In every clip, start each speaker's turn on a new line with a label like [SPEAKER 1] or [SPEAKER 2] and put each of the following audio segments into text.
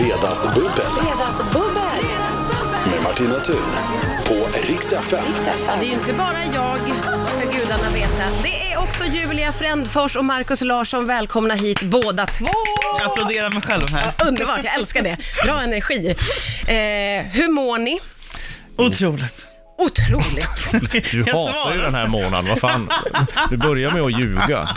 [SPEAKER 1] Fredagsbubbel
[SPEAKER 2] Fredagsbubbel!
[SPEAKER 1] med Martina Thun på Rix FM.
[SPEAKER 3] Ja, det är ju inte bara jag, ska gudarna veta. Det är också Julia Frändfors och Markus Larsson. Välkomna hit båda två!
[SPEAKER 4] Jag applåderar mig själv här.
[SPEAKER 3] Underbart, jag älskar det. Bra energi. Eh, hur mår ni?
[SPEAKER 4] Otroligt.
[SPEAKER 3] Otroligt.
[SPEAKER 5] Du
[SPEAKER 4] Jag
[SPEAKER 5] hatar ju
[SPEAKER 4] svarar.
[SPEAKER 5] den här månaden, vad fan. Du börjar med att ljuga.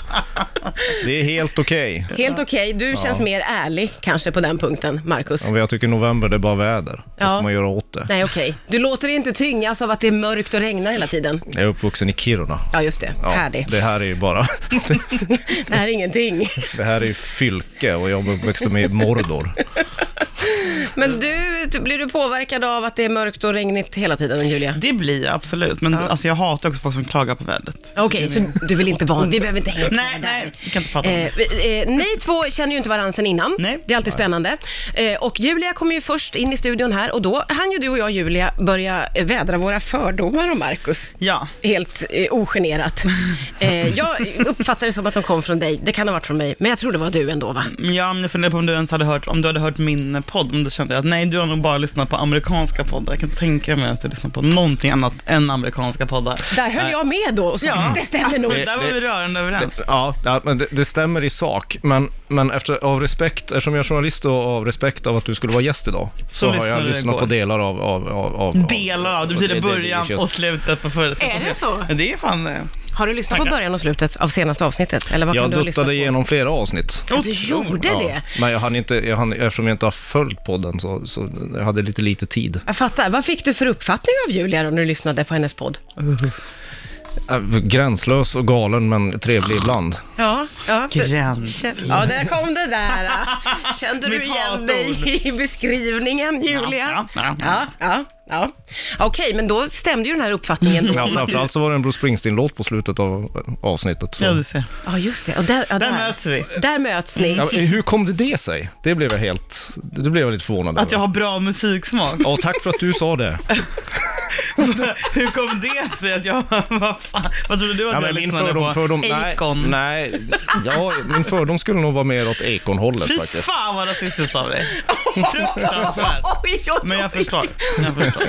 [SPEAKER 5] Det är helt okej.
[SPEAKER 3] Helt okej, du känns mer ärlig kanske på den punkten, Markus.
[SPEAKER 5] Okay. Jag tycker november, det är bara väder. Vad
[SPEAKER 3] Ja.
[SPEAKER 5] ska man göra åt det?
[SPEAKER 3] Nej, okej. Du låter dig inte tyngas av att det är mörkt och regnar hela tiden.
[SPEAKER 5] Jag är uppvuxen i Kiruna.
[SPEAKER 3] Ja, just det.
[SPEAKER 5] Ja,
[SPEAKER 3] Härlig.
[SPEAKER 5] det här är ju bara,
[SPEAKER 3] Det här är ingenting.
[SPEAKER 5] det här är ju fylke och jag växte med i Mordor.
[SPEAKER 3] Men du, du- blir du påverkad av att det är mörkt och regnigt hela tiden, Julia?
[SPEAKER 4] Det blir jag absolut, men alltså, jag hatar också folk som klagar på vädret.
[SPEAKER 3] Okej, så du vill inte vara... Vi behöver inte hänga kvar
[SPEAKER 4] Nej,
[SPEAKER 3] där.
[SPEAKER 4] nej, vi kan inte prata om det.
[SPEAKER 3] Eh, vi- eh, ni två känner ju inte varandra sen innan.
[SPEAKER 4] Nej.
[SPEAKER 3] Det är alltid spännande. Eh, och Julia kom ju först in i studion här och då hann ju du och jag, Julia, börja eh, vädra våra fördomar om Marcus.
[SPEAKER 4] Ja.
[SPEAKER 3] Helt eh, ogenerat. Eh, jag uppfattade det som att de kom från dig. Det kan ha varit från mig, men jag tror det var du ändå, va?
[SPEAKER 4] Men jag jag funderar på om du ens hade hört, om du hade hört min podd, om du kände att nej, du har nog bara lyssnat på amerikanska poddar. Jag kan inte tänka mig att du lyssnar på någonting annat än amerikanska poddar.
[SPEAKER 5] Eh,
[SPEAKER 3] Där höll jag med då och sa, det stämmer nog.
[SPEAKER 4] Där var vi rörande överens.
[SPEAKER 5] Ja, ja, men det, det stämmer i sak, men, men efter, av respekt, eftersom jag är journalist och av respekt av att du skulle vara gäst idag, så, har
[SPEAKER 4] lyssnade
[SPEAKER 5] jag
[SPEAKER 4] du
[SPEAKER 5] lyssnat på
[SPEAKER 4] igår.
[SPEAKER 5] delar av... av, av, av
[SPEAKER 4] Delar
[SPEAKER 5] eh,
[SPEAKER 4] av, det betyder början och slutet på föreställningen.
[SPEAKER 3] Är det så?
[SPEAKER 4] Ja, Det är fan... eh,
[SPEAKER 3] Har du lyssnat på
[SPEAKER 4] Tackar.
[SPEAKER 3] början och slutet av senaste avsnittet? Eller vad kan
[SPEAKER 5] Jag
[SPEAKER 3] du ha lyssnat på?
[SPEAKER 5] duttade igenom flera avsnitt.
[SPEAKER 3] Ja, Du gjorde det?
[SPEAKER 5] Men jag hann inte, jag hann, eftersom jag inte har följt podden så, så jag hade lite lite tid.
[SPEAKER 3] Jag fattar. Vad fick du för uppfattning av Julia då när du lyssnade på hennes podd?
[SPEAKER 5] Äh, Gränslös och galen men
[SPEAKER 3] Ah.
[SPEAKER 5] trevlig ibland.
[SPEAKER 3] Ja, ja.
[SPEAKER 4] Gräns.
[SPEAKER 3] Ja, där kom det där. Kände du
[SPEAKER 4] Mitt
[SPEAKER 3] igen
[SPEAKER 4] hatord.
[SPEAKER 3] dig i beskrivningen, Julia?
[SPEAKER 4] Ja, ja,
[SPEAKER 3] ja.
[SPEAKER 4] ja.
[SPEAKER 3] ja, ja. Okej, men då stämde ju den här uppfattningen.
[SPEAKER 4] Mm.
[SPEAKER 3] då.
[SPEAKER 5] Ja, framförallt så var det en Bruce Springsteen-låt på slutet av eh, avsnittet. Så.
[SPEAKER 4] Ja, du ser.
[SPEAKER 3] Ja, just det. Och där, ja,
[SPEAKER 4] Där möts vi.
[SPEAKER 3] Där möts ni.
[SPEAKER 5] Ja, men hur kom det det sig? Det blev jag helt, det blev jag lite förvånad
[SPEAKER 4] Att jag
[SPEAKER 5] över.
[SPEAKER 4] har bra musiksmak.
[SPEAKER 5] Ja, tack för att du sa det.
[SPEAKER 4] Hur kom det sig att jag... Vad fan? Vad trodde du att
[SPEAKER 5] Ja,
[SPEAKER 4] jag
[SPEAKER 5] men min
[SPEAKER 4] lyssnade
[SPEAKER 5] fördom,
[SPEAKER 4] på?
[SPEAKER 5] fördom, nej,
[SPEAKER 4] Akon.
[SPEAKER 5] nej, ja, min fördom skulle nog vara mer åt Akon-hållet
[SPEAKER 4] Fy
[SPEAKER 5] faktiskt.
[SPEAKER 4] fan vad rasistiskt av dig. Fruktansvärt.
[SPEAKER 3] Oj, oj,
[SPEAKER 4] Men jag
[SPEAKER 3] oj.
[SPEAKER 4] förstår. Jag förstår.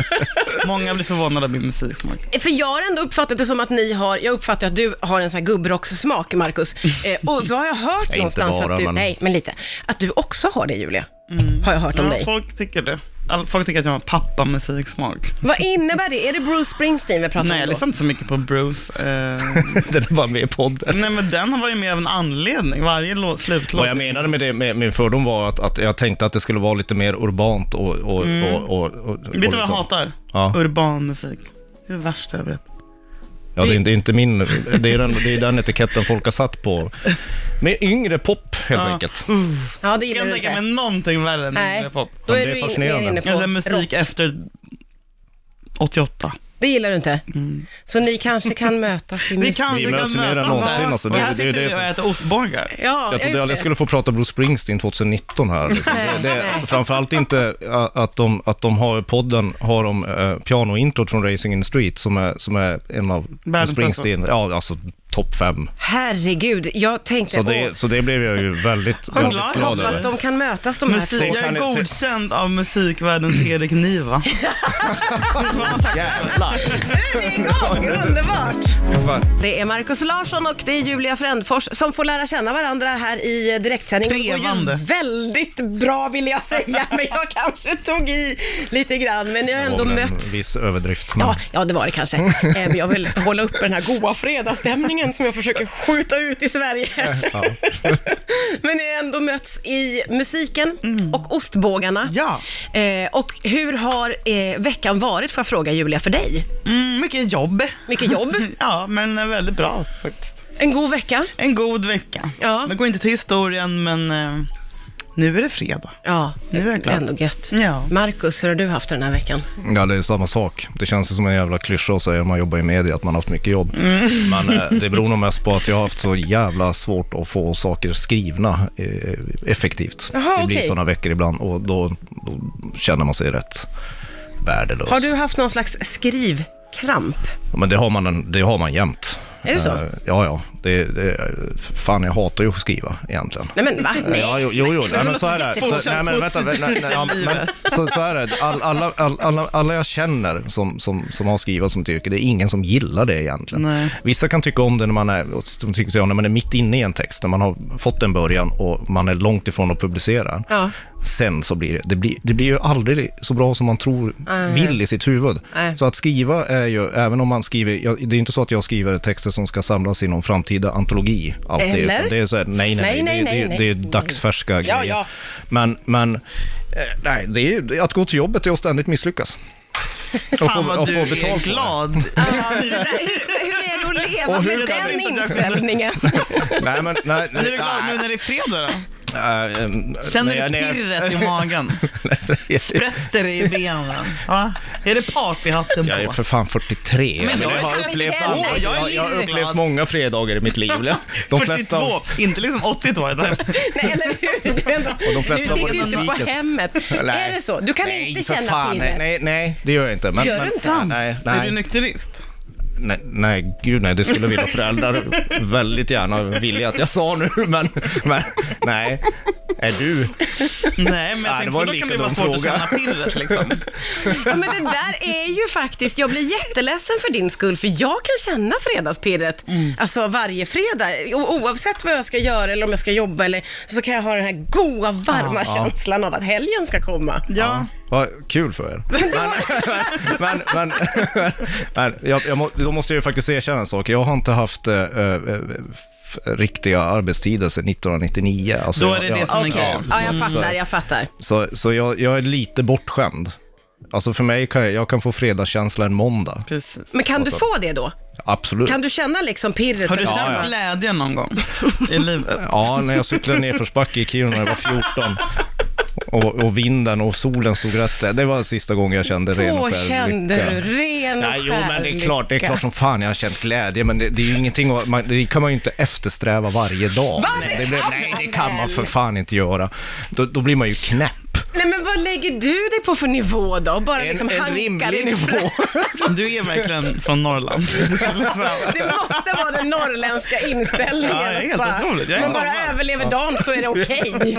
[SPEAKER 4] Många blir förvånade av min musiksmak.
[SPEAKER 3] För jag har ändå uppfattat det som att ni har, jag uppfattar att du har en sån här gubbrockssmak, Markus. Eh, och så har jag hört
[SPEAKER 5] inte
[SPEAKER 3] någonstans
[SPEAKER 5] bara,
[SPEAKER 3] att du,
[SPEAKER 5] men-
[SPEAKER 3] nej, men lite, att du också har det Julia. Har jag hört om
[SPEAKER 4] Mm. Ja,
[SPEAKER 3] dig.
[SPEAKER 4] folk tycker det. All- Folk tycker att jag har pappa-musiksmak.
[SPEAKER 3] Vad innebär det? Är det Bruce Springsteen vi pratar
[SPEAKER 4] Nej, liksom-
[SPEAKER 3] om
[SPEAKER 4] jag
[SPEAKER 3] då?
[SPEAKER 4] lyssnar inte så mycket på Bruce. Eh,
[SPEAKER 5] Den var med i podden.
[SPEAKER 4] nej, men den var ju med av en anledning. Varje lå- slutlåt.
[SPEAKER 5] Vad jag menade med det, med min fördom var att, att jag tänkte att det skulle vara lite mer urbant och... och, och, och, och
[SPEAKER 4] Mm.
[SPEAKER 5] liksom-
[SPEAKER 4] Vet du vad jag hatar?
[SPEAKER 5] Ja.
[SPEAKER 4] Urban musik. Det är det värsta jag vet.
[SPEAKER 5] Ja, det är, inte- det är inte min... Det är, den, det är den etiketten folk har satt på. Med yngre pop, helt
[SPEAKER 4] Ja.
[SPEAKER 5] enkelt.
[SPEAKER 3] Ja, det
[SPEAKER 4] Jag
[SPEAKER 3] gillar
[SPEAKER 4] kan
[SPEAKER 3] du
[SPEAKER 4] tänka
[SPEAKER 3] inte.
[SPEAKER 4] mig någonting värre än
[SPEAKER 3] Nej,
[SPEAKER 4] Nej. pop.
[SPEAKER 3] då
[SPEAKER 5] Men
[SPEAKER 3] är
[SPEAKER 5] det är
[SPEAKER 3] du in, mer
[SPEAKER 5] fascinerande.
[SPEAKER 3] inne på
[SPEAKER 4] Alltså musik
[SPEAKER 3] rock.
[SPEAKER 4] efter 88.
[SPEAKER 3] Det gillar du inte? Så ni kanske kan mötas i musik?
[SPEAKER 5] Vi möts ju mer än någonsin, alltså. Det-
[SPEAKER 4] Det, här
[SPEAKER 5] det- det-
[SPEAKER 4] sitter vi och äter ostbågar.
[SPEAKER 3] Ja,
[SPEAKER 5] Jag
[SPEAKER 3] ja,
[SPEAKER 5] trodde
[SPEAKER 3] just
[SPEAKER 5] aldrig jag skulle få prata Bruce Springsteen 2019 här. Liksom.
[SPEAKER 3] Nej,
[SPEAKER 5] Det, det,
[SPEAKER 3] nej.
[SPEAKER 5] är framförallt inte ä, att de, att de har i podden, har de uh, pianointrot från Racing in the Street som är, som är en av
[SPEAKER 4] bästa.
[SPEAKER 5] Springsteen, ja alltså topp fem.
[SPEAKER 3] Herregud, jag tänkte...
[SPEAKER 5] Så
[SPEAKER 3] åh,
[SPEAKER 5] det, så det blev jag ju väldigt,
[SPEAKER 4] Vad
[SPEAKER 5] väldigt
[SPEAKER 4] glad jag
[SPEAKER 5] glad
[SPEAKER 3] hoppas
[SPEAKER 5] över.
[SPEAKER 3] de kan mötas de här
[SPEAKER 4] Musik,
[SPEAKER 3] två.
[SPEAKER 4] Alltså, jag
[SPEAKER 5] kan
[SPEAKER 4] är
[SPEAKER 5] ni-
[SPEAKER 4] godkänd av musikvärldens Erik Niva.
[SPEAKER 5] Jävlar!
[SPEAKER 3] Nu är vi igång, underbart!
[SPEAKER 5] Fan.
[SPEAKER 3] Det är Markus Larsson och det är Julia Frändfors som får lära känna varandra här i direktsändning.
[SPEAKER 4] Trevande.
[SPEAKER 3] Det går ju väldigt bra vill jag säga, men jag kanske tog i lite grann. Men ni har ändå
[SPEAKER 5] var väl
[SPEAKER 3] mötts.
[SPEAKER 5] En viss överdrift. men-
[SPEAKER 3] Ja, ja, det var det kanske.
[SPEAKER 5] Mm.
[SPEAKER 3] Eh, Men jag vill hålla uppe den här goa fredagsstämningen som jag försöker skjuta ut i Sverige. Men ni har ändå mötts i musiken
[SPEAKER 5] Mm.
[SPEAKER 3] och ostbågarna.
[SPEAKER 4] Ja.
[SPEAKER 3] Eh, och hur har eh, veckan varit, får jag fråga Julia, för dig?
[SPEAKER 4] Mm, mycket jobb.
[SPEAKER 3] Mycket jobb,
[SPEAKER 4] Ja, men är väldigt bra faktiskt.
[SPEAKER 3] en god vecka.
[SPEAKER 4] En god vecka.
[SPEAKER 3] Ja.
[SPEAKER 4] Det går inte till historien, men eh, nu är det fredag.
[SPEAKER 3] Ja,
[SPEAKER 4] Nu är jag glad.
[SPEAKER 3] ändå gött.
[SPEAKER 4] Ja.
[SPEAKER 3] Marcus, hur har du haft det den här veckan?
[SPEAKER 5] Ja, det är samma sak. Det känns ju som en jävla klyscha att säga om man jobbar i media att man har haft mycket jobb.
[SPEAKER 3] Mm.
[SPEAKER 5] Men eh, det beror nog mest på att jag har haft så jävla svårt att få saker skrivna eh, effektivt.
[SPEAKER 3] Jaha,
[SPEAKER 5] det blir
[SPEAKER 3] okej.
[SPEAKER 5] sådana veckor ibland och då, då känner man sig rätt värdelös.
[SPEAKER 3] Har du haft någon slags skrivkramp?
[SPEAKER 5] Ja, Men det har man, en, det har man jämt.
[SPEAKER 3] Är det så?
[SPEAKER 5] Eh, Ja, ja. Det, det, fan, jag hatar ju att skriva egentligen.
[SPEAKER 3] Nej men va? Nej.
[SPEAKER 5] Ja, jo, jo, jo. Nej, men så är det. Så, nej, men vänta. Nej, nej, ja, men, så, så är det. All, alla, all, alla, alla jag känner som, som, som har skrivit som ett yrke, det är ingen som gillar det egentligen.
[SPEAKER 4] Nej.
[SPEAKER 5] Vissa kan tycka om det när man, är, de tycker om när man är mitt inne i en text, när man har fått en början och man är långt ifrån att publicera.
[SPEAKER 3] Ja.
[SPEAKER 5] Sen så blir det, det blir, det blir ju aldrig så bra som man tror, vill i sitt huvud.
[SPEAKER 3] Nej.
[SPEAKER 5] Så att skriva är ju, även om man skriver, jag, det är ju inte så att jag skriver texter som ska samlas i någon framtida antologi. Alltid,
[SPEAKER 3] Eller?
[SPEAKER 5] utan Det är så här, nej, nej, nej,
[SPEAKER 3] Nej,
[SPEAKER 5] det,
[SPEAKER 3] nej,
[SPEAKER 5] är-
[SPEAKER 3] nej,
[SPEAKER 5] det är
[SPEAKER 3] nej.
[SPEAKER 5] dagsfärska
[SPEAKER 3] Ja,
[SPEAKER 5] grejer.
[SPEAKER 3] ja.
[SPEAKER 5] Men, men eh, nej, det är, ju- det- att gå till jobbet är att ständigt misslyckas. Och få-
[SPEAKER 4] Fan vad
[SPEAKER 5] och
[SPEAKER 4] du
[SPEAKER 5] få
[SPEAKER 4] är
[SPEAKER 5] betalt för det.
[SPEAKER 4] glad.
[SPEAKER 3] Det där, hur, hur är det att leva
[SPEAKER 5] Och hur
[SPEAKER 3] med
[SPEAKER 5] kan
[SPEAKER 3] den
[SPEAKER 4] det inte-
[SPEAKER 3] inställningen?
[SPEAKER 5] Nej, men nej,
[SPEAKER 4] Men är du glad nu när det är fredag då?
[SPEAKER 5] nej, eh,
[SPEAKER 4] Känner
[SPEAKER 5] nej,
[SPEAKER 4] du
[SPEAKER 5] nej.
[SPEAKER 4] pirret i magen? Sprätter det i benen? Va? Är det partyhatten
[SPEAKER 5] Jag är
[SPEAKER 4] på?
[SPEAKER 5] för fan 43.
[SPEAKER 4] Men
[SPEAKER 5] jag,
[SPEAKER 4] jag
[SPEAKER 5] har
[SPEAKER 4] kan väl
[SPEAKER 5] upplevt,
[SPEAKER 3] känna-
[SPEAKER 5] andra-
[SPEAKER 3] Åh,
[SPEAKER 4] jag är
[SPEAKER 5] jag, jag har
[SPEAKER 4] livsglad.
[SPEAKER 5] upplevt många fredagar i mitt liv. De
[SPEAKER 4] 42,
[SPEAKER 5] flesta,
[SPEAKER 4] inte liksom 82. utan-
[SPEAKER 3] Nej, eller hur? Du, ändå,
[SPEAKER 5] de
[SPEAKER 3] du
[SPEAKER 5] flesta var
[SPEAKER 3] sitter ju inte på
[SPEAKER 5] besviken.
[SPEAKER 3] hemmet.
[SPEAKER 5] Nej.
[SPEAKER 3] Är det så? Du kan
[SPEAKER 5] nej,
[SPEAKER 3] inte
[SPEAKER 5] för
[SPEAKER 3] känna
[SPEAKER 5] fan, nej,
[SPEAKER 3] pirret?
[SPEAKER 5] nej, nej, det gör jag inte. Men,
[SPEAKER 3] Gör
[SPEAKER 5] men,
[SPEAKER 3] du inte?
[SPEAKER 5] Nej,
[SPEAKER 4] Är du
[SPEAKER 5] nej,
[SPEAKER 4] nykterist?
[SPEAKER 5] nej, nej, gud nej, det skulle mina föräldrar väldigt gärna vilja att jag sa nu, men, men nej. Är du?
[SPEAKER 4] Nej, men jag
[SPEAKER 5] det
[SPEAKER 4] tänkte
[SPEAKER 5] var
[SPEAKER 4] för
[SPEAKER 5] en
[SPEAKER 4] då kan det vara svårt
[SPEAKER 5] lika dum
[SPEAKER 4] att
[SPEAKER 5] fråga.
[SPEAKER 4] känna pirret liksom.
[SPEAKER 3] Ja, men det där är ju faktiskt, jag blir jätteledsen för din skull, för jag kan känna fredagspirret,
[SPEAKER 5] Mm.
[SPEAKER 3] alltså varje fredag, O- oavsett vad jag ska göra eller om jag ska jobba eller så kan jag ha den här goa, varma känslan av att helgen ska komma.
[SPEAKER 4] Ja.
[SPEAKER 5] Vad kul för er. Men, men, men, men, men jag, jag må, då måste jag ju faktiskt erkänna en sak. Jag har inte haft eh, eh, f- riktiga arbetstider sedan 1999. Alltså,
[SPEAKER 4] Då är det
[SPEAKER 5] jag,
[SPEAKER 4] det
[SPEAKER 5] jag,
[SPEAKER 4] som är
[SPEAKER 3] Okej,
[SPEAKER 4] kul.
[SPEAKER 3] ja, jag
[SPEAKER 5] så-
[SPEAKER 3] fattar, jag fattar.
[SPEAKER 5] Så, så jag, jag är lite bortskämd. Alltså för mig kan jag, jag kan få fredagskänsla en måndag.
[SPEAKER 4] Precis.
[SPEAKER 3] Men kan du få det då?
[SPEAKER 5] Absolut.
[SPEAKER 3] Kan du känna liksom pirret?
[SPEAKER 4] Har du
[SPEAKER 3] på
[SPEAKER 4] känt
[SPEAKER 3] söndag?
[SPEAKER 4] glädje någon gång i livet?
[SPEAKER 5] Ja, när jag cyklade nerförsbacke i Kiruna när jag var 14. Och, och vinden och solen stod rätt. Det var sista gången jag kände ren och
[SPEAKER 3] Då
[SPEAKER 5] skär
[SPEAKER 3] kände
[SPEAKER 5] lycka.
[SPEAKER 3] du ren och
[SPEAKER 5] Nej, jo, men det är klart, det är
[SPEAKER 3] lycka.
[SPEAKER 5] klart som fan jag har känt glädje, men det, det är ju ingenting, att- man, det kan man ju inte eftersträva varje dag.
[SPEAKER 3] Va?
[SPEAKER 5] Nej, det,
[SPEAKER 3] Det
[SPEAKER 5] blir,
[SPEAKER 3] kan
[SPEAKER 5] nej,
[SPEAKER 3] man
[SPEAKER 5] det kan man
[SPEAKER 3] väl?
[SPEAKER 5] för fan inte göra. Då, då blir man ju knäpp.
[SPEAKER 3] Nej men vad lägger du dig på för nivå då? Och Bara liksom hankar dig
[SPEAKER 5] nivå.
[SPEAKER 4] Du är verkligen från Norrland. liksom
[SPEAKER 3] Det måste vara den norrländska inställningen.
[SPEAKER 4] Ja, det är helt
[SPEAKER 3] bara,
[SPEAKER 4] otroligt. Jag är
[SPEAKER 3] man bara
[SPEAKER 4] norrman.
[SPEAKER 3] överlever dagen så är det okej.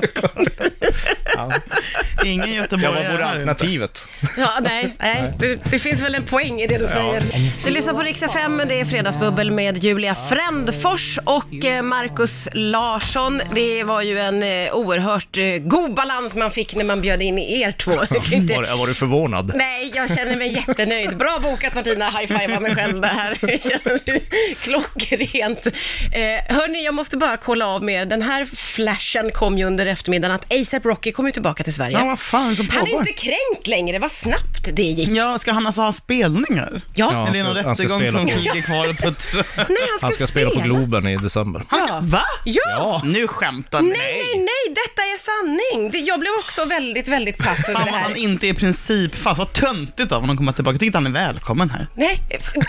[SPEAKER 4] Ingen
[SPEAKER 5] Jag
[SPEAKER 4] göteborgare.
[SPEAKER 5] var vore alternativet.
[SPEAKER 3] Ja, nej, nej. Det, det finns väl en poäng i det du säger. Du lyssnar på Rix FM, det är Fredagsbubbel med Julia Frändfors och eh, Marcus Larsson. Det var ju en eh, oerhört eh, god balans man fick när man bjöd in er två. Det kan ju inte-
[SPEAKER 5] Var, jag var du förvånad?
[SPEAKER 3] Nej, jag känner mig jättenöjd. Bra bokat Martina, high-fiva mig själv det här. Det känns ju klockrent. Eh, hörni, jag måste bara kolla av med er. Den här flashen kom ju under eftermiddagen att ASAP Rocky kommer ju tillbaka till Sverige.
[SPEAKER 4] Ja, vad fan är det som
[SPEAKER 3] Han är
[SPEAKER 4] pågår?
[SPEAKER 3] inte kränkt längre, vad snabbt det gick.
[SPEAKER 4] Ja, ska han alltså ha spelningar?
[SPEAKER 3] Ja,
[SPEAKER 5] Ja.
[SPEAKER 4] Eller
[SPEAKER 5] Han
[SPEAKER 4] är det någon
[SPEAKER 5] ska- han ska
[SPEAKER 4] rättegång
[SPEAKER 5] spela
[SPEAKER 4] som
[SPEAKER 5] på-
[SPEAKER 4] ligger kvar på ett...
[SPEAKER 3] nej han ska,
[SPEAKER 5] Han ska spela på Globen i december.
[SPEAKER 3] Ja.
[SPEAKER 4] Va?
[SPEAKER 3] Ja.
[SPEAKER 4] Nu skämtar
[SPEAKER 3] Nej, nej, nej, detta är sanning. Det, jag blev också väldigt, väldigt paff över
[SPEAKER 4] Fan
[SPEAKER 3] det
[SPEAKER 4] vad han
[SPEAKER 3] här.
[SPEAKER 4] inte är principfast. Vad töntigt av honom att komma tillbaka. Jag tycker inte han är välkommen här.
[SPEAKER 3] Nej,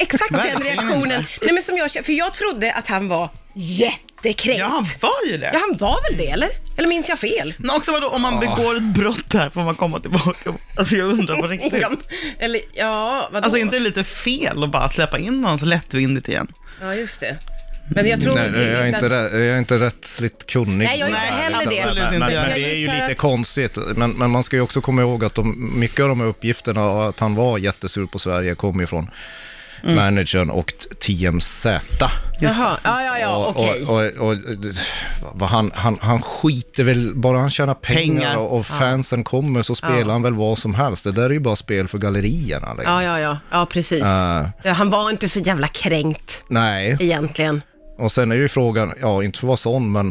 [SPEAKER 3] exakt den
[SPEAKER 4] Verkligen
[SPEAKER 3] reaktionen.
[SPEAKER 4] inte.
[SPEAKER 3] Nej, men som jag, för jag trodde att han var jättekränkt.
[SPEAKER 4] Ja, han var ju det.
[SPEAKER 3] Ja, han var väl det eller? Eller minns jag fel?
[SPEAKER 4] Men också vadå, om man begår ett brott här får man komma tillbaka. Alltså jag undrar på riktigt.
[SPEAKER 3] Ja, eller ja, vadå?
[SPEAKER 4] Alltså inte lite fel att bara släppa in någon så lättvindigt igen.
[SPEAKER 3] Ja, just det. Men jag tror
[SPEAKER 5] Nej, jag, är
[SPEAKER 3] att-
[SPEAKER 5] inte, rä- jag är inte rättsligt kunnig.
[SPEAKER 3] Nej, jag är inte
[SPEAKER 5] Nej,
[SPEAKER 3] heller
[SPEAKER 5] liksom.
[SPEAKER 3] det.
[SPEAKER 4] Absolut
[SPEAKER 5] Men,
[SPEAKER 4] inte.
[SPEAKER 5] men,
[SPEAKER 4] Jag
[SPEAKER 5] men det är ju
[SPEAKER 3] gissar
[SPEAKER 5] lite
[SPEAKER 3] att-
[SPEAKER 5] konstigt. Men, men man ska ju också komma ihåg att de, mycket av de här uppgifterna och att han var jättesur på Sverige kommer ju från
[SPEAKER 3] Mm.
[SPEAKER 5] managern och TMZ.
[SPEAKER 3] Jaha, ja, ja, ja,
[SPEAKER 5] och,
[SPEAKER 3] okej.
[SPEAKER 5] och, och, och, vad han, han, han skiter väl, bara han tjänar pengar,
[SPEAKER 4] Pengar.
[SPEAKER 5] och, och fansen kommer så spelar han väl vad som helst. Det där är ju bara spel för gallerierna. liksom.
[SPEAKER 3] Ja, ja, ja, ja, precis.
[SPEAKER 5] Eh,
[SPEAKER 3] Ja, Han var inte så jävla kränkt
[SPEAKER 5] nej.
[SPEAKER 3] egentligen.
[SPEAKER 5] Och sen är ju frågan, ja inte för att vara sån men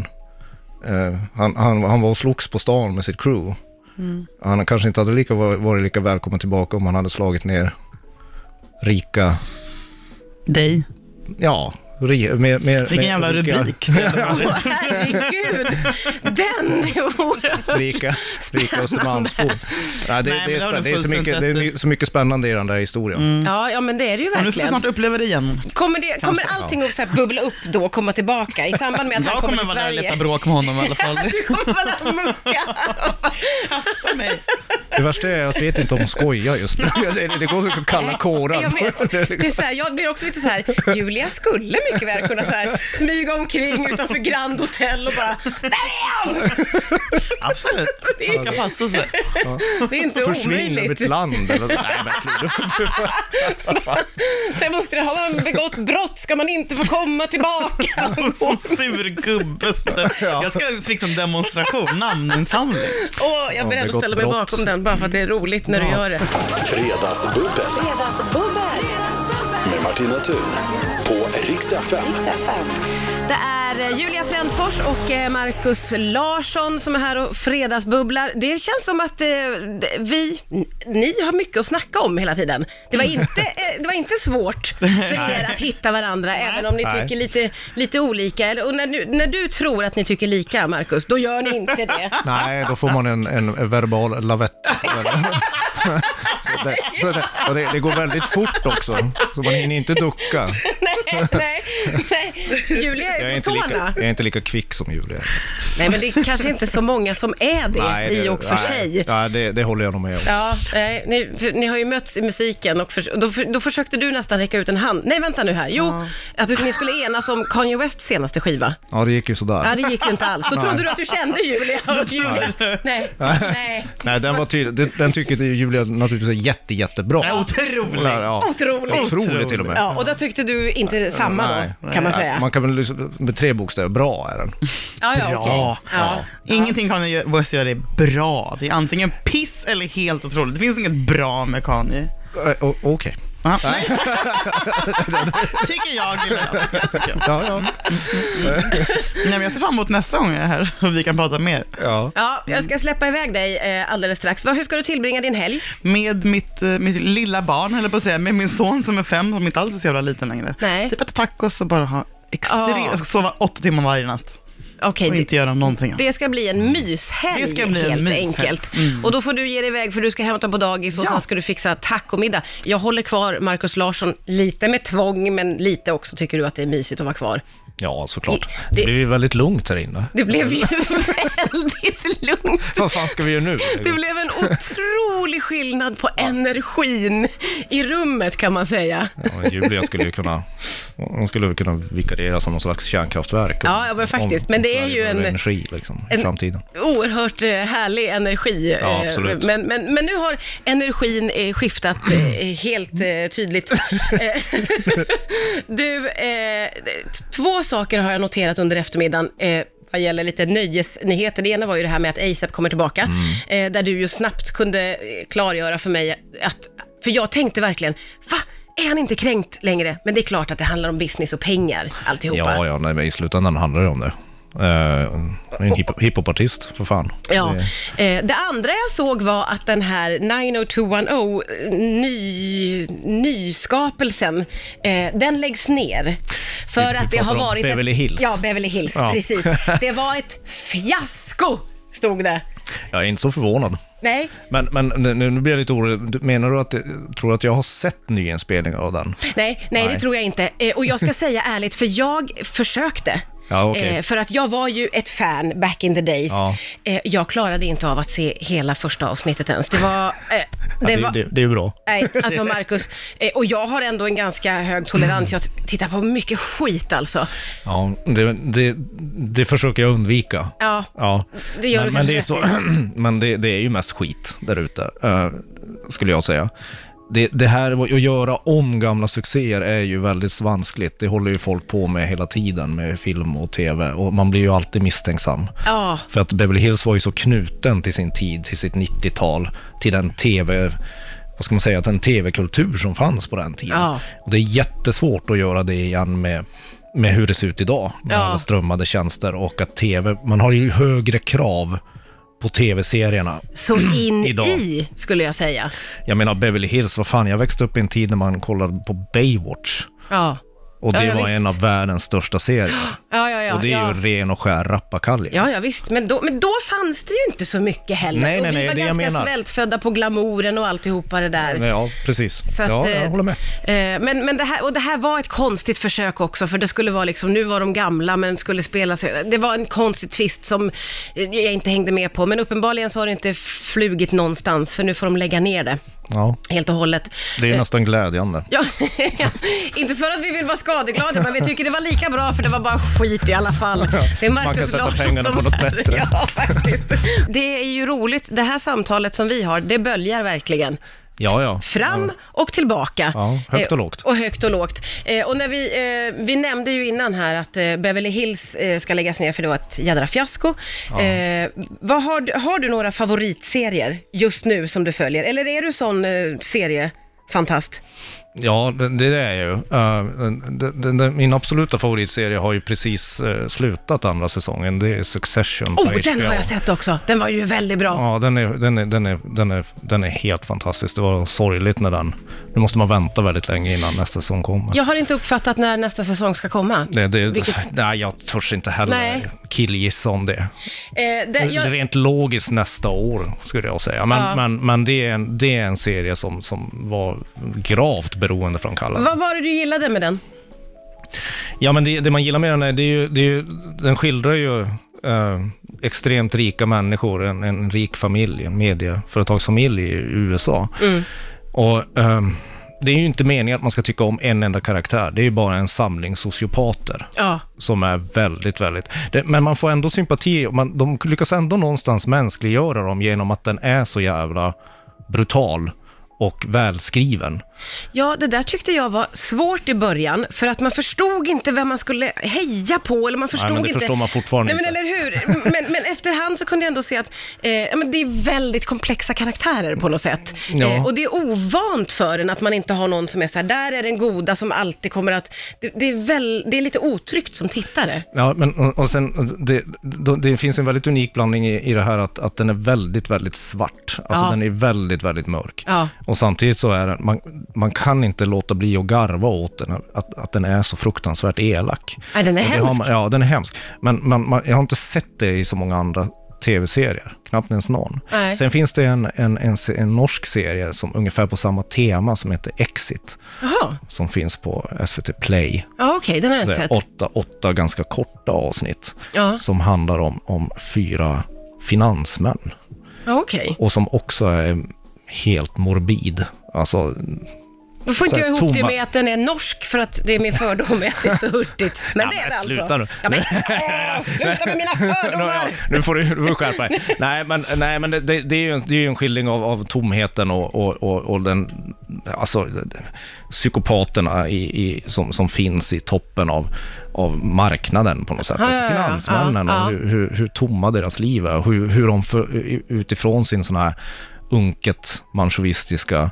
[SPEAKER 5] eh, han, han, han var och slogs på stan med sitt crew.
[SPEAKER 3] Mm.
[SPEAKER 5] Han kanske inte hade lika, varit lika välkommen tillbaka om han hade slagit ner rika,
[SPEAKER 4] Dig.
[SPEAKER 5] ja, ri, mer, mer,
[SPEAKER 4] Vilken
[SPEAKER 5] mer,
[SPEAKER 4] jävla
[SPEAKER 5] rika,
[SPEAKER 4] rubrik. Det hade varit.
[SPEAKER 3] Åh, herregud! Den är oerhört...
[SPEAKER 5] Rika, rika Östermalmsbor. Nej, det,
[SPEAKER 4] Nej, men
[SPEAKER 5] det, är
[SPEAKER 4] det har
[SPEAKER 5] spä-
[SPEAKER 4] du
[SPEAKER 5] det är så mycket, det är
[SPEAKER 4] fullständigt Mm.
[SPEAKER 5] my- så mycket spännande i den där historien.
[SPEAKER 3] Ja, ja, men det är det ju
[SPEAKER 4] Ja, nu får vi
[SPEAKER 3] verkligen.
[SPEAKER 4] snart uppleva det igen.
[SPEAKER 3] Kommer, det, kommer allting att så här bubbla upp då och komma tillbaka i samband med att han
[SPEAKER 4] Jag
[SPEAKER 3] kommer
[SPEAKER 4] kommer
[SPEAKER 3] till
[SPEAKER 4] vara där och
[SPEAKER 3] Sverige?
[SPEAKER 4] leta bråk med honom i alla fall.
[SPEAKER 3] Du kommer vara där och mucka.
[SPEAKER 4] Kasta mig.
[SPEAKER 5] Det värsta är att jag vet inte om hon skojar just nu. Det det går som kalla kårar.
[SPEAKER 3] Jag vet. Det är så här, jag blir också lite så här, Julia skulle mycket väl kunna så här, smyga omkring utanför Grand Hotel och bara, där är han!
[SPEAKER 4] Absolut. Det ska passa sig.
[SPEAKER 3] Det är inte
[SPEAKER 5] Försvinn över
[SPEAKER 3] omöjligt.
[SPEAKER 5] ett land eller Nej men sluta.
[SPEAKER 3] Det måste det, har man begått brott ska man inte få komma tillbaka.
[SPEAKER 4] Och sur gubbe. som den- Jag ska fixa en demonstration, namninsamling.
[SPEAKER 3] Och jag blir
[SPEAKER 5] det är
[SPEAKER 3] ändå
[SPEAKER 5] gott
[SPEAKER 3] ställa mig
[SPEAKER 5] brott.
[SPEAKER 3] bakom den bara för att det är roligt när du gör det.
[SPEAKER 1] Fredagsbubbel med Martina Thun på Rix FM.
[SPEAKER 3] Det är eh, Julia Frändfors och eh, Marcus Larsson som är här och fredagsbubblar. Det känns som att eh, d- vi, n- ni har mycket att snacka om hela tiden. Det var inte, eh, det var inte svårt för er att hitta varandra, även om ni
[SPEAKER 5] Nej.
[SPEAKER 3] tycker lite, lite olika. Eller- Och när, du- när du tror att ni tycker lika, Marcus, då gör ni inte det.
[SPEAKER 5] Nej, då får man en, en verbal lavett. Så det, så det, och det, det går väldigt fort också, så man hinner inte ducka.
[SPEAKER 3] nej, nej, nej. Julia
[SPEAKER 5] Jag är
[SPEAKER 3] är
[SPEAKER 5] inte
[SPEAKER 3] på
[SPEAKER 5] lika,
[SPEAKER 3] tårna.
[SPEAKER 5] jag är inte lika kvick som Julia.
[SPEAKER 3] Nej, men det är kanske inte så många som är det i och för
[SPEAKER 5] nej,
[SPEAKER 3] sig.
[SPEAKER 5] Ja, det, det håller jag nog med om.
[SPEAKER 3] Ja, nej, ni, för, ni har ju mötts i musiken och för, och då, för, då försökte du nästan räcka ut en hand. Nej, vänta nu här. Jo, att du, ni skulle enas om Kanye Wests senaste skiva.
[SPEAKER 5] Ja, det gick ju
[SPEAKER 3] Ja,
[SPEAKER 5] sådär.
[SPEAKER 3] det gick ju inte alls. Då trodde du att du kände Julia. Och Julia. Nej. Nej.
[SPEAKER 5] Nej, den var tydlig. Den, den tycker Julia naturligtvis är jätte, jättebra.
[SPEAKER 4] Ja, otrolig.
[SPEAKER 5] Ja,
[SPEAKER 3] Otrolig.
[SPEAKER 5] Otrolig till och med.
[SPEAKER 3] Ja, och då tyckte du inte samma då,
[SPEAKER 5] Nej.
[SPEAKER 3] kan man
[SPEAKER 5] Ja,
[SPEAKER 3] säga.
[SPEAKER 5] Man kan väl liksom- med tre bokstäver, bra är den.
[SPEAKER 3] Ja, ja, okej. Ja.
[SPEAKER 4] Ingenting Kanye West gör är bra. Det är antingen piss eller helt otroligt. Det finns inget bra med Kanye.
[SPEAKER 5] Eh, o- Okej.
[SPEAKER 4] Ja, nej. tycker jag. ibland.
[SPEAKER 5] Ja, ja.
[SPEAKER 4] Nej, men jag ser fram emot nästa gång jag är här och vi kan prata mer.
[SPEAKER 5] ja.
[SPEAKER 3] Ja, jag ska släppa iväg dig eh, alldeles strax. Va, Hur ska du tillbringa din helg?
[SPEAKER 4] Med mitt, eh, mitt lilla barn, höll jag på att säga, med min son som är fem, som inte alls är så jävla liten längre.
[SPEAKER 3] Nej.
[SPEAKER 4] Typ äta tacos och bara ha extremt...
[SPEAKER 3] Ja.
[SPEAKER 4] Jag ska sova åtta timmar varje natt
[SPEAKER 3] Okej,
[SPEAKER 4] och
[SPEAKER 3] det-
[SPEAKER 4] inte göra någonting annat.
[SPEAKER 3] Det ska bli en myshelg
[SPEAKER 4] Mm. Det ska bli en
[SPEAKER 3] helt
[SPEAKER 4] myshelg. Mm.
[SPEAKER 3] enkelt. Och då får du ge dig iväg för du ska hämta på dagis och
[SPEAKER 4] Ja.
[SPEAKER 3] sen ska du fixa tacomiddag. Jag håller kvar Markus Larsson lite med tvång, men lite också tycker du att det är mysigt att vara kvar.
[SPEAKER 5] Ja, såklart.
[SPEAKER 3] Det-
[SPEAKER 5] Det blir ju väldigt lugnt här inne.
[SPEAKER 3] Det blev ju
[SPEAKER 4] Mm.
[SPEAKER 3] väldigt lugnt.
[SPEAKER 5] Vad fan ska vi göra nu?
[SPEAKER 3] Det blev en otrolig skillnad på energin i rummet kan man säga.
[SPEAKER 5] Ja, Julia skulle ju kunna, hon skulle väl kunna vikariera som någon slags kärnkraftverk. om-
[SPEAKER 3] Ja, ja, men faktiskt.
[SPEAKER 5] om-
[SPEAKER 3] Men
[SPEAKER 5] om
[SPEAKER 3] det är
[SPEAKER 5] Sverige
[SPEAKER 3] ju
[SPEAKER 5] behöver
[SPEAKER 3] en-
[SPEAKER 5] energi liksom,
[SPEAKER 3] en-
[SPEAKER 5] i framtiden.
[SPEAKER 3] Oerhört eh, härlig energi.
[SPEAKER 5] Ja,
[SPEAKER 3] eh,
[SPEAKER 5] absolut.
[SPEAKER 3] Men, men, men nu har energin eh, skiftat eh, helt eh, tydligt. Eh, du, eh, t- två saker har jag noterat under eftermiddagen. Eh, vad gäller lite nöjesnyheter. Det ena var ju det här med att ASAP kommer tillbaka,
[SPEAKER 5] Mm.
[SPEAKER 3] eh, där du ju snabbt kunde eh, klargöra för mig att, för jag tänkte verkligen, va? Är han inte kränkt längre? Men det är klart att det handlar om business och pengar, alltihopa.
[SPEAKER 5] Ja, ja, nej, men i slutändan handlar det om det. Eh, han är en hip- hiphopartist, för fan.
[SPEAKER 3] Ja.
[SPEAKER 5] Det-
[SPEAKER 3] Eh, det andra jag såg var att den här 90210, eh, ny, nyskapelsen, eh, den läggs ner. För
[SPEAKER 5] Vi- vi
[SPEAKER 3] att det
[SPEAKER 5] pratar
[SPEAKER 3] har
[SPEAKER 5] om
[SPEAKER 3] varit... ett-
[SPEAKER 5] Beverly Hills.
[SPEAKER 3] Ja, Beverly Hills,
[SPEAKER 5] Ja.
[SPEAKER 3] precis. Det var ett fiasko, stod det.
[SPEAKER 5] Jag är inte så förvånad.
[SPEAKER 3] Nej,
[SPEAKER 5] Men, men nu, nu blir jag lite orolig. Du- Menar du att, tror du att jag har sett nyinspelningar av den?
[SPEAKER 3] nej, nej, det
[SPEAKER 5] Nej.
[SPEAKER 3] tror jag inte. Eh, och jag ska säga ärligt, för jag försökte.
[SPEAKER 5] Ja, okej.
[SPEAKER 3] Eh, för att jag var ju ett fan back in the days.
[SPEAKER 5] Ja.
[SPEAKER 3] Eh, jag klarade inte av att se hela första avsnittet ens. Det var... Eh,
[SPEAKER 5] Ja,
[SPEAKER 3] det
[SPEAKER 5] det,
[SPEAKER 3] var
[SPEAKER 5] det, det är ju bra.
[SPEAKER 3] Nej, alltså Marcus, eh, och jag har ändå en ganska hög tolerans. Jag tittar på mycket skit alltså.
[SPEAKER 5] Ja, det, det, det försöker jag undvika.
[SPEAKER 3] Ja,
[SPEAKER 5] Ja,
[SPEAKER 3] Det gör
[SPEAKER 5] men,
[SPEAKER 3] du
[SPEAKER 5] men, det är
[SPEAKER 3] kanske
[SPEAKER 5] så, men det, det är ju mest skit där ute, eh, skulle jag säga. Det, det här att göra om gamla succéer är ju väldigt svanskligt. Det håller ju folk på med hela tiden med film och tv och man blir ju alltid misstänksam.
[SPEAKER 3] ja,
[SPEAKER 5] För att Beverly Hills var ju så knuten till sin tid, till sitt 90-tal, till den tv, vad ska man säga, den tv-kultur som fanns på den tiden.
[SPEAKER 3] Ja.
[SPEAKER 5] Och det är jättesvårt att göra det igen med, med hur det ser ut idag, med
[SPEAKER 3] Ja.
[SPEAKER 5] alla strömmade tjänster och att tv, man har ju högre krav på tv-serierna.
[SPEAKER 3] så in
[SPEAKER 5] Idag.
[SPEAKER 3] i skulle jag säga.
[SPEAKER 5] Jag menar Beverly Hills, vad fan, jag växte upp i en tid när man kollade på Baywatch.
[SPEAKER 3] Ja,
[SPEAKER 5] Och
[SPEAKER 3] Ja,
[SPEAKER 5] det
[SPEAKER 3] ja,
[SPEAKER 5] var
[SPEAKER 3] visst.
[SPEAKER 5] en av världens största serier.
[SPEAKER 3] Ja, ja, ja.
[SPEAKER 5] och det är
[SPEAKER 3] ja.
[SPEAKER 5] ju ren och skär rappakalja.
[SPEAKER 3] Ja, ja visst, men då, men då fanns det ju inte så mycket heller.
[SPEAKER 5] Nej, nej,
[SPEAKER 3] och vi
[SPEAKER 5] nej,
[SPEAKER 3] var
[SPEAKER 5] det jag
[SPEAKER 3] ganska
[SPEAKER 5] menar.
[SPEAKER 3] svältfödda på glamouren och alltihopa det där.
[SPEAKER 5] Men ja precis.
[SPEAKER 3] Så att,
[SPEAKER 5] ja, jag
[SPEAKER 3] eh,
[SPEAKER 5] håller med.
[SPEAKER 3] eh, Men, men det, här, och det här var ett konstigt försök också, för det skulle vara liksom, nu var de gamla men skulle spela sig. Det var en konstig twist som eh, jag inte hängde med på, men uppenbarligen så har det inte flugit någonstans, för nu får de lägga ner det
[SPEAKER 5] Ja,
[SPEAKER 3] helt och hållet.
[SPEAKER 5] det är ju nästan glädjande.
[SPEAKER 3] Ja, inte för att vi vill vara skadeglada, men vi tycker det var lika bra för det var bara skit i alla fall. Det är
[SPEAKER 5] Man kan
[SPEAKER 3] Marcus
[SPEAKER 5] sätta
[SPEAKER 3] Larsson
[SPEAKER 5] pengarna
[SPEAKER 3] som
[SPEAKER 5] på något
[SPEAKER 3] är-
[SPEAKER 5] bättre.
[SPEAKER 3] Ja, faktiskt. Det är ju roligt, det här samtalet som vi har, det böljar verkligen.
[SPEAKER 5] Ja, ja.
[SPEAKER 3] Fram och tillbaka.
[SPEAKER 5] Ja, högt och
[SPEAKER 3] Eh,
[SPEAKER 5] lågt.
[SPEAKER 3] Och högt och lågt. Eh, Och när vi, eh, vi nämnde ju innan här att eh, Beverly Hills eh, ska läggas ner för det var ett jädra fiasko. Eh, vad har, du, har du några favoritserier just nu som du följer? Eller är du sån eh, seriefantast?
[SPEAKER 5] Ja, det, det är jag ju. Eh, den, den, den, den, min absoluta favoritserie har ju precis eh, slutat andra säsongen. Det är Succession
[SPEAKER 3] Oh, den har jag sett också. Den var ju väldigt bra.
[SPEAKER 5] Ja, den är, den, är, den, är, den, är, den är helt fantastisk. Det var sorgligt när den... Nu måste man vänta väldigt länge innan nästa säsong kommer.
[SPEAKER 3] Jag har inte uppfattat när nästa säsong ska komma.
[SPEAKER 5] Det, det,
[SPEAKER 3] Vilket-
[SPEAKER 5] Nej, jag törs inte heller
[SPEAKER 3] Nej.
[SPEAKER 5] killgissa om det.
[SPEAKER 3] Eh, det, jag,
[SPEAKER 5] Rent logiskt nästa år, skulle jag säga. Men,
[SPEAKER 3] Ja.
[SPEAKER 5] men, men det, är en, det är en serie som, som var gravt beroende från Kalle.
[SPEAKER 3] vad var det du gillade med den?
[SPEAKER 5] Ja, men det, det man gillar med den är, det är ju, det är ju den skildrar ju eh, extremt rika människor, en, en rik familj, en medieföretagsfamilj i USA. Och ehm, det är ju inte meningen att man ska tycka om en enda karaktär, det är ju bara en samling sociopater
[SPEAKER 3] Ja,
[SPEAKER 5] som är väldigt, väldigt... Det, men man får ändå sympati, och man, de lyckas ändå någonstans mänskliggöra dem genom att den är så jävla brutal och välskriven.
[SPEAKER 3] ja, det där tyckte jag var svårt i början, för att man förstod inte vem man skulle heja på, eller man förstod
[SPEAKER 5] Nej, men det
[SPEAKER 3] inte...
[SPEAKER 5] förstår man fortfarande
[SPEAKER 3] Nej, men
[SPEAKER 5] inte.
[SPEAKER 3] eller hur? Men, men efterhand så kunde jag ändå se att eh, ja, men det är väldigt komplexa karaktärer på något sätt.
[SPEAKER 5] Ja.
[SPEAKER 3] Eh, och det är ovant för en att man inte har någon som är så här, där är den goda som alltid kommer att... Det, det, är, väl, det är lite otryggt som tittare.
[SPEAKER 5] Ja, men och och sen, det, då- det finns en väldigt unik blandning i, i det här att, att den är väldigt, väldigt svart. Alltså
[SPEAKER 3] Ja.
[SPEAKER 5] den är väldigt, väldigt mörk.
[SPEAKER 3] Ja.
[SPEAKER 5] Och samtidigt så är den, man, man kan inte låta bli att garva åt den, att, att den är så fruktansvärt elak.
[SPEAKER 3] Nej, den är
[SPEAKER 5] Och det
[SPEAKER 3] hemsk.
[SPEAKER 5] har man, ja, den är hemsk. Men man, man, jag har inte sett det i så många andra tv-serier, knappt ens någon.
[SPEAKER 3] Nej.
[SPEAKER 5] Sen finns det en, en, en, se- en norsk serie som ungefär på samma tema som heter Exit,
[SPEAKER 3] Jaha,
[SPEAKER 5] som finns på SVT Play
[SPEAKER 3] ja, okej, den har jag
[SPEAKER 5] så
[SPEAKER 3] inte
[SPEAKER 5] här,
[SPEAKER 3] sett.
[SPEAKER 5] åtta, åtta ganska korta avsnitt
[SPEAKER 3] Ja.
[SPEAKER 5] som handlar om, om fyra finansmän
[SPEAKER 3] Ja, okej.
[SPEAKER 5] och som också är helt morbid. Alltså,
[SPEAKER 3] Då får inte
[SPEAKER 5] Så här,
[SPEAKER 3] jag ihop det
[SPEAKER 5] tomma-
[SPEAKER 3] med att den är norsk för att det är min fördom att det är så hurtigt. Men det är det alltså.
[SPEAKER 5] sluta nu.
[SPEAKER 3] Ja, men, åh, sluta med mina fördomar!
[SPEAKER 5] nu får du, du får skärpa dig. Nej, men, nej, men det, det, det är ju, en- det är ju en skildring av, av tomheten och, och, och, och den, alltså, psykopaterna i, i, som, som finns i toppen av, av marknaden på något sätt.
[SPEAKER 3] Ja,
[SPEAKER 5] Alltså,
[SPEAKER 3] ja, ja.
[SPEAKER 5] finansmännen
[SPEAKER 3] Ja, ja.
[SPEAKER 5] och hur, hur, hur tomma deras liv är. och Hur, hur de för, utifrån sin sån här unket manchovistiska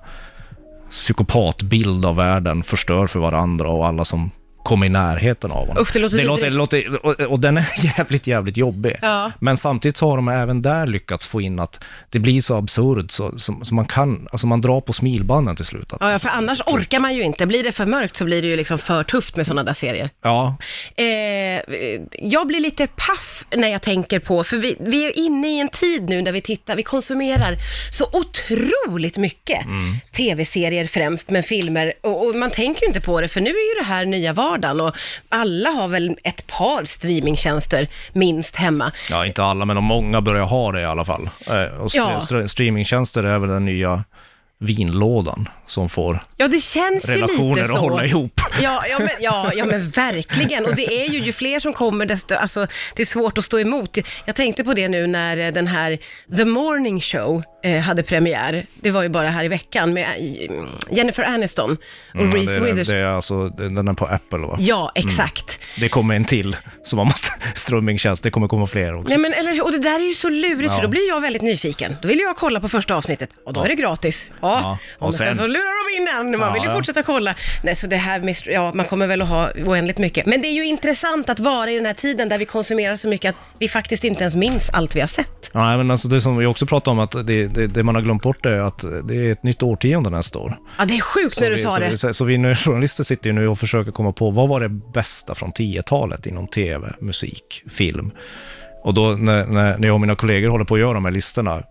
[SPEAKER 5] psykopatbild av världen förstör för varandra och alla som kommer i närheten av honom.
[SPEAKER 3] Usch, det låter
[SPEAKER 5] låter,
[SPEAKER 3] vidrigt.
[SPEAKER 5] låter, och, och den är jävligt, jävligt jobbig.
[SPEAKER 3] Ja.
[SPEAKER 5] Men samtidigt så har de även där lyckats få in att det blir så absurt så, så, så man kan, alltså man drar på smilbanden till slut. Att,
[SPEAKER 3] Ja, ja, för annars orkar man ju inte. Blir det för mörkt så blir det ju liksom för tufft med sådana där serier.
[SPEAKER 5] ja,
[SPEAKER 3] Eh, jag blir lite paff när jag tänker på, för vi, vi är inne i en tid nu där vi tittar, vi konsumerar så otroligt mycket tv-serier främst, men filmer, och, och man tänker ju inte på det, för nu är ju det här nya vardagen och alla har väl ett par streamingtjänster minst hemma.
[SPEAKER 5] ja, inte alla, men de många börjar ha det i alla fall. Eh, Och
[SPEAKER 3] Ja.
[SPEAKER 5] ja. streamingtjänster är väl den nya vinlådan som får
[SPEAKER 3] Ja, det känns ju lite
[SPEAKER 5] relationer
[SPEAKER 3] så.
[SPEAKER 5] att hålla ihop.
[SPEAKER 3] Ja, ja, men, ja, ja, men verkligen. Och det är ju, ju fler som kommer, desto, alltså, det är svårt att stå emot. Jag tänkte på det nu när eh, den här The Morning Show eh, hade premiär. Det var ju bara här i veckan med eh, Jennifer Aniston och
[SPEAKER 5] Mm, Ja,
[SPEAKER 3] Reese
[SPEAKER 5] det, är, det
[SPEAKER 3] Witherspoon.
[SPEAKER 5] är alltså, den är Mm. på Apple va?
[SPEAKER 3] Ja, exakt.
[SPEAKER 5] Det kommer en till, så man måste, strömmingtjänst, det kommer komma fler också.
[SPEAKER 3] Nej, men, eller, och det där är ju så lurigt, för
[SPEAKER 5] Ja.
[SPEAKER 3] då blir jag väldigt nyfiken. Då vill jag kolla på första avsnittet, och då är det gratis. Ja,
[SPEAKER 5] Ja,
[SPEAKER 3] och
[SPEAKER 5] och
[SPEAKER 3] sen,
[SPEAKER 5] sen-
[SPEAKER 3] så lurar de in en, man
[SPEAKER 5] Ja,
[SPEAKER 3] vill ju
[SPEAKER 5] ja.
[SPEAKER 3] fortsätta kolla. Nej, så det här, med str- ja, man kommer väl att ha oändligt mycket. Men det är ju intressant att vara i den här tiden där vi konsumerar så mycket att vi faktiskt inte ens minns allt vi har sett.
[SPEAKER 5] Nej, men alltså det som vi också pratade om, att det, det, det man har glömt bort är att det är ett nytt årtionde nästa år.
[SPEAKER 3] Ja, det är sjukt när du
[SPEAKER 5] vi,
[SPEAKER 3] sa
[SPEAKER 5] så,
[SPEAKER 3] det.
[SPEAKER 5] vi- Så, så vi nu journalister sitter ju nu och försöker komma på vad var det bästa från 10-talet inom tv, musik, film. Och då när, när, när jag och mina kollegor håller på att göra de här listorna,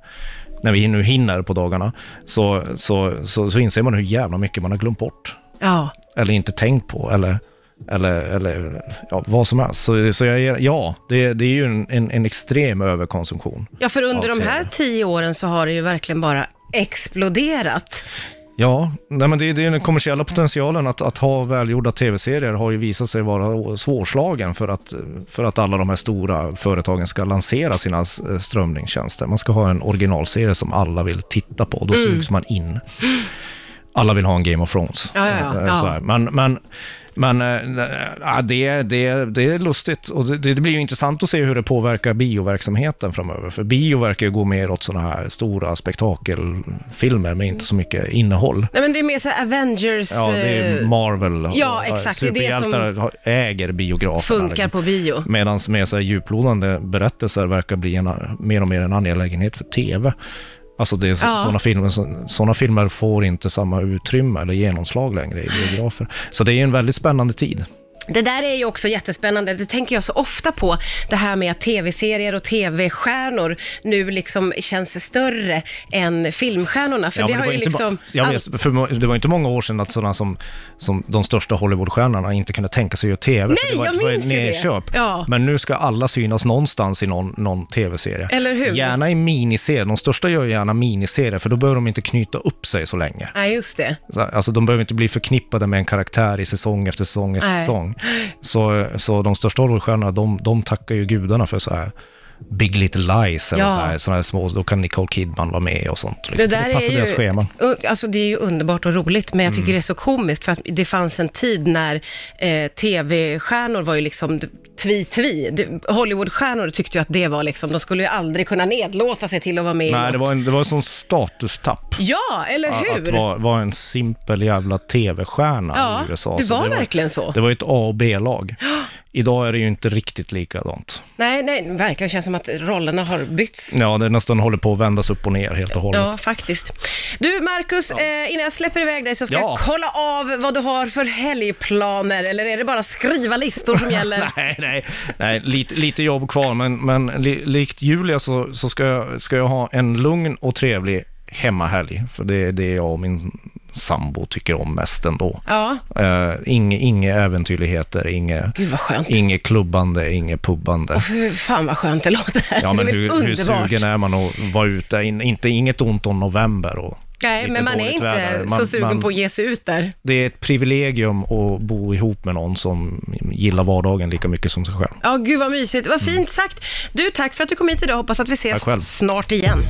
[SPEAKER 5] när vi nu hinner på dagarna, så, så, så, så inser man hur jävla mycket man har glömt bort.
[SPEAKER 3] Ja.
[SPEAKER 5] Eller inte tänkt på, eller, eller, eller ja, vad som helst. Så, så jag, ja, det, det är ju en, en, en extrem överkonsumtion.
[SPEAKER 3] ja, för under
[SPEAKER 5] Ja,
[SPEAKER 3] de
[SPEAKER 5] det är
[SPEAKER 3] här
[SPEAKER 5] det.
[SPEAKER 3] tio åren så har det ju verkligen bara exploderat.
[SPEAKER 5] Ja, nej men det, det är den kommersiella potentialen att, att ha välgjorda tv-serier har ju visat sig vara å- svårslagen för att, för att alla de här stora företagen ska lansera sina s- eh, strömningstjänster. Man ska ha en originalserie som alla vill titta på,
[SPEAKER 3] Mm.
[SPEAKER 5] då sugs man in. Alla vill ha en Game of Thrones.
[SPEAKER 3] Ja, ja, ja.
[SPEAKER 5] Eh, eh, så här. Men, men, men eh, ja, det, det, det är lustigt och det, det blir ju intressant att se hur det påverkar bioverksamheten framöver. För bio verkar ju gå mer åt sådana här stora spektakelfilmer med inte så mycket innehåll.
[SPEAKER 3] Nej, men det är mer så här Avengers...
[SPEAKER 5] Ja, det är
[SPEAKER 3] eh,
[SPEAKER 5] Marvel.
[SPEAKER 3] ja, exakt. Det är det
[SPEAKER 5] Superhjältar har- äger biograferna.
[SPEAKER 3] funkar på bio.
[SPEAKER 5] Medan mer så här djuplodande berättelser verkar bli en, mer och mer en angelägenhet för tv. Alltså det är
[SPEAKER 3] Ja.
[SPEAKER 5] sådana filmer, som- såna filmer får inte samma utrymme eller genomslag längre i biografer. Så det är ju en väldigt spännande tid.
[SPEAKER 3] Det där är ju också jättespännande. Det tänker jag så ofta på. Det här med att tv-serier och tv-stjärnor nu liksom känns större än filmstjärnorna. För
[SPEAKER 5] Ja,
[SPEAKER 3] det
[SPEAKER 5] men
[SPEAKER 3] har
[SPEAKER 5] var
[SPEAKER 3] ju
[SPEAKER 5] inte ma-
[SPEAKER 3] liksom...
[SPEAKER 5] jag
[SPEAKER 3] all-
[SPEAKER 5] vet, för må- det var inte många år sedan att sådana som, som de största Hollywoodstjärnorna inte kunde tänka sig att göra tv. för
[SPEAKER 3] Nej,
[SPEAKER 5] det var,
[SPEAKER 3] jag
[SPEAKER 5] det var
[SPEAKER 3] minns ju det.
[SPEAKER 5] nedköp.
[SPEAKER 3] Ja.
[SPEAKER 5] Men nu ska alla synas någonstans i någon, någon tv-serie.
[SPEAKER 3] Eller hur?
[SPEAKER 5] Gärna i miniserier. De största gör gärna miniserier, för då behöver de inte knyta upp sig så länge.
[SPEAKER 3] Nej, just det.
[SPEAKER 5] Så- Alltså de behöver inte bli förknippade med en karaktär i säsong efter säsong efter
[SPEAKER 3] Nej.
[SPEAKER 5] säsong. Så, så de största Hollywoodstjärnorna, de, de tackar ju gudarna för så här Big Little Lies eller
[SPEAKER 3] Ja.
[SPEAKER 5] så här, såna här små, då kan Nicole Kidman vara med och sånt. liksom.
[SPEAKER 3] Det där
[SPEAKER 5] passar
[SPEAKER 3] är ju,
[SPEAKER 5] deras scheman.
[SPEAKER 3] Uh, Alltså det är ju underbart och roligt, men jag
[SPEAKER 5] Mm.
[SPEAKER 3] tycker det är så komiskt för att det fanns en tid när eh, tv-stjärnor var ju liksom d- tvi-tvi. Det- Hollywoodstjärnor tyckte ju att det var liksom, de skulle ju aldrig kunna nedlåta sig till att vara med i
[SPEAKER 5] Nej,
[SPEAKER 3] något.
[SPEAKER 5] det var en, det var en sån statustapp.
[SPEAKER 3] Ja, eller
[SPEAKER 5] Att
[SPEAKER 3] hur?
[SPEAKER 5] vara, vara en simpel jävla tv-stjärna
[SPEAKER 3] Ja,
[SPEAKER 5] i USA.
[SPEAKER 3] det
[SPEAKER 5] Så
[SPEAKER 3] var verkligen så.
[SPEAKER 5] Det var ju ett A och B-lag. Idag är det ju inte riktigt likadant.
[SPEAKER 3] Nej, nej, verkligen känns som att rollerna har bytts.
[SPEAKER 5] Ja, det nästan håller på att vändas upp och ner helt och hållet.
[SPEAKER 3] Ja, faktiskt. Du, Marcus, eh, innan jag släpper iväg dig så ska
[SPEAKER 5] Ja.
[SPEAKER 3] jag kolla av vad du har för helgplaner, eller är det bara skriva listor som gäller?
[SPEAKER 5] nej, nej, nej lite, lite jobb kvar, men, men li, likt Julia så, så ska, jag, ska jag ha en lugn och trevlig hemmahelg, för det är det jag och min sambo tycker om mest ändå.
[SPEAKER 3] Ja,
[SPEAKER 5] Eh, inge, inga äventyrligheter, inge,
[SPEAKER 3] gud vad skönt.
[SPEAKER 5] inget klubbande, inget pubbande.
[SPEAKER 3] Fy fan vad skönt det låter.
[SPEAKER 5] Ja, men
[SPEAKER 3] det är väl
[SPEAKER 5] hur, hur
[SPEAKER 3] underbart.
[SPEAKER 5] sugen är man att vara ute? In, inte, inget ont om november och
[SPEAKER 3] Nej,
[SPEAKER 5] lite
[SPEAKER 3] men man är
[SPEAKER 5] dåligt
[SPEAKER 3] inte
[SPEAKER 5] väder. Man-
[SPEAKER 3] så sugen
[SPEAKER 5] man-
[SPEAKER 3] på att ge sig ut där.
[SPEAKER 5] Det är ett privilegium att bo ihop med någon som gillar vardagen lika mycket som sig själv.
[SPEAKER 3] Ja, gud vad mysigt. Vad fint sagt. Du, tack för att du kom hit idag. Hoppas att vi ses
[SPEAKER 5] Mm. Tack själv.
[SPEAKER 3] snart igen.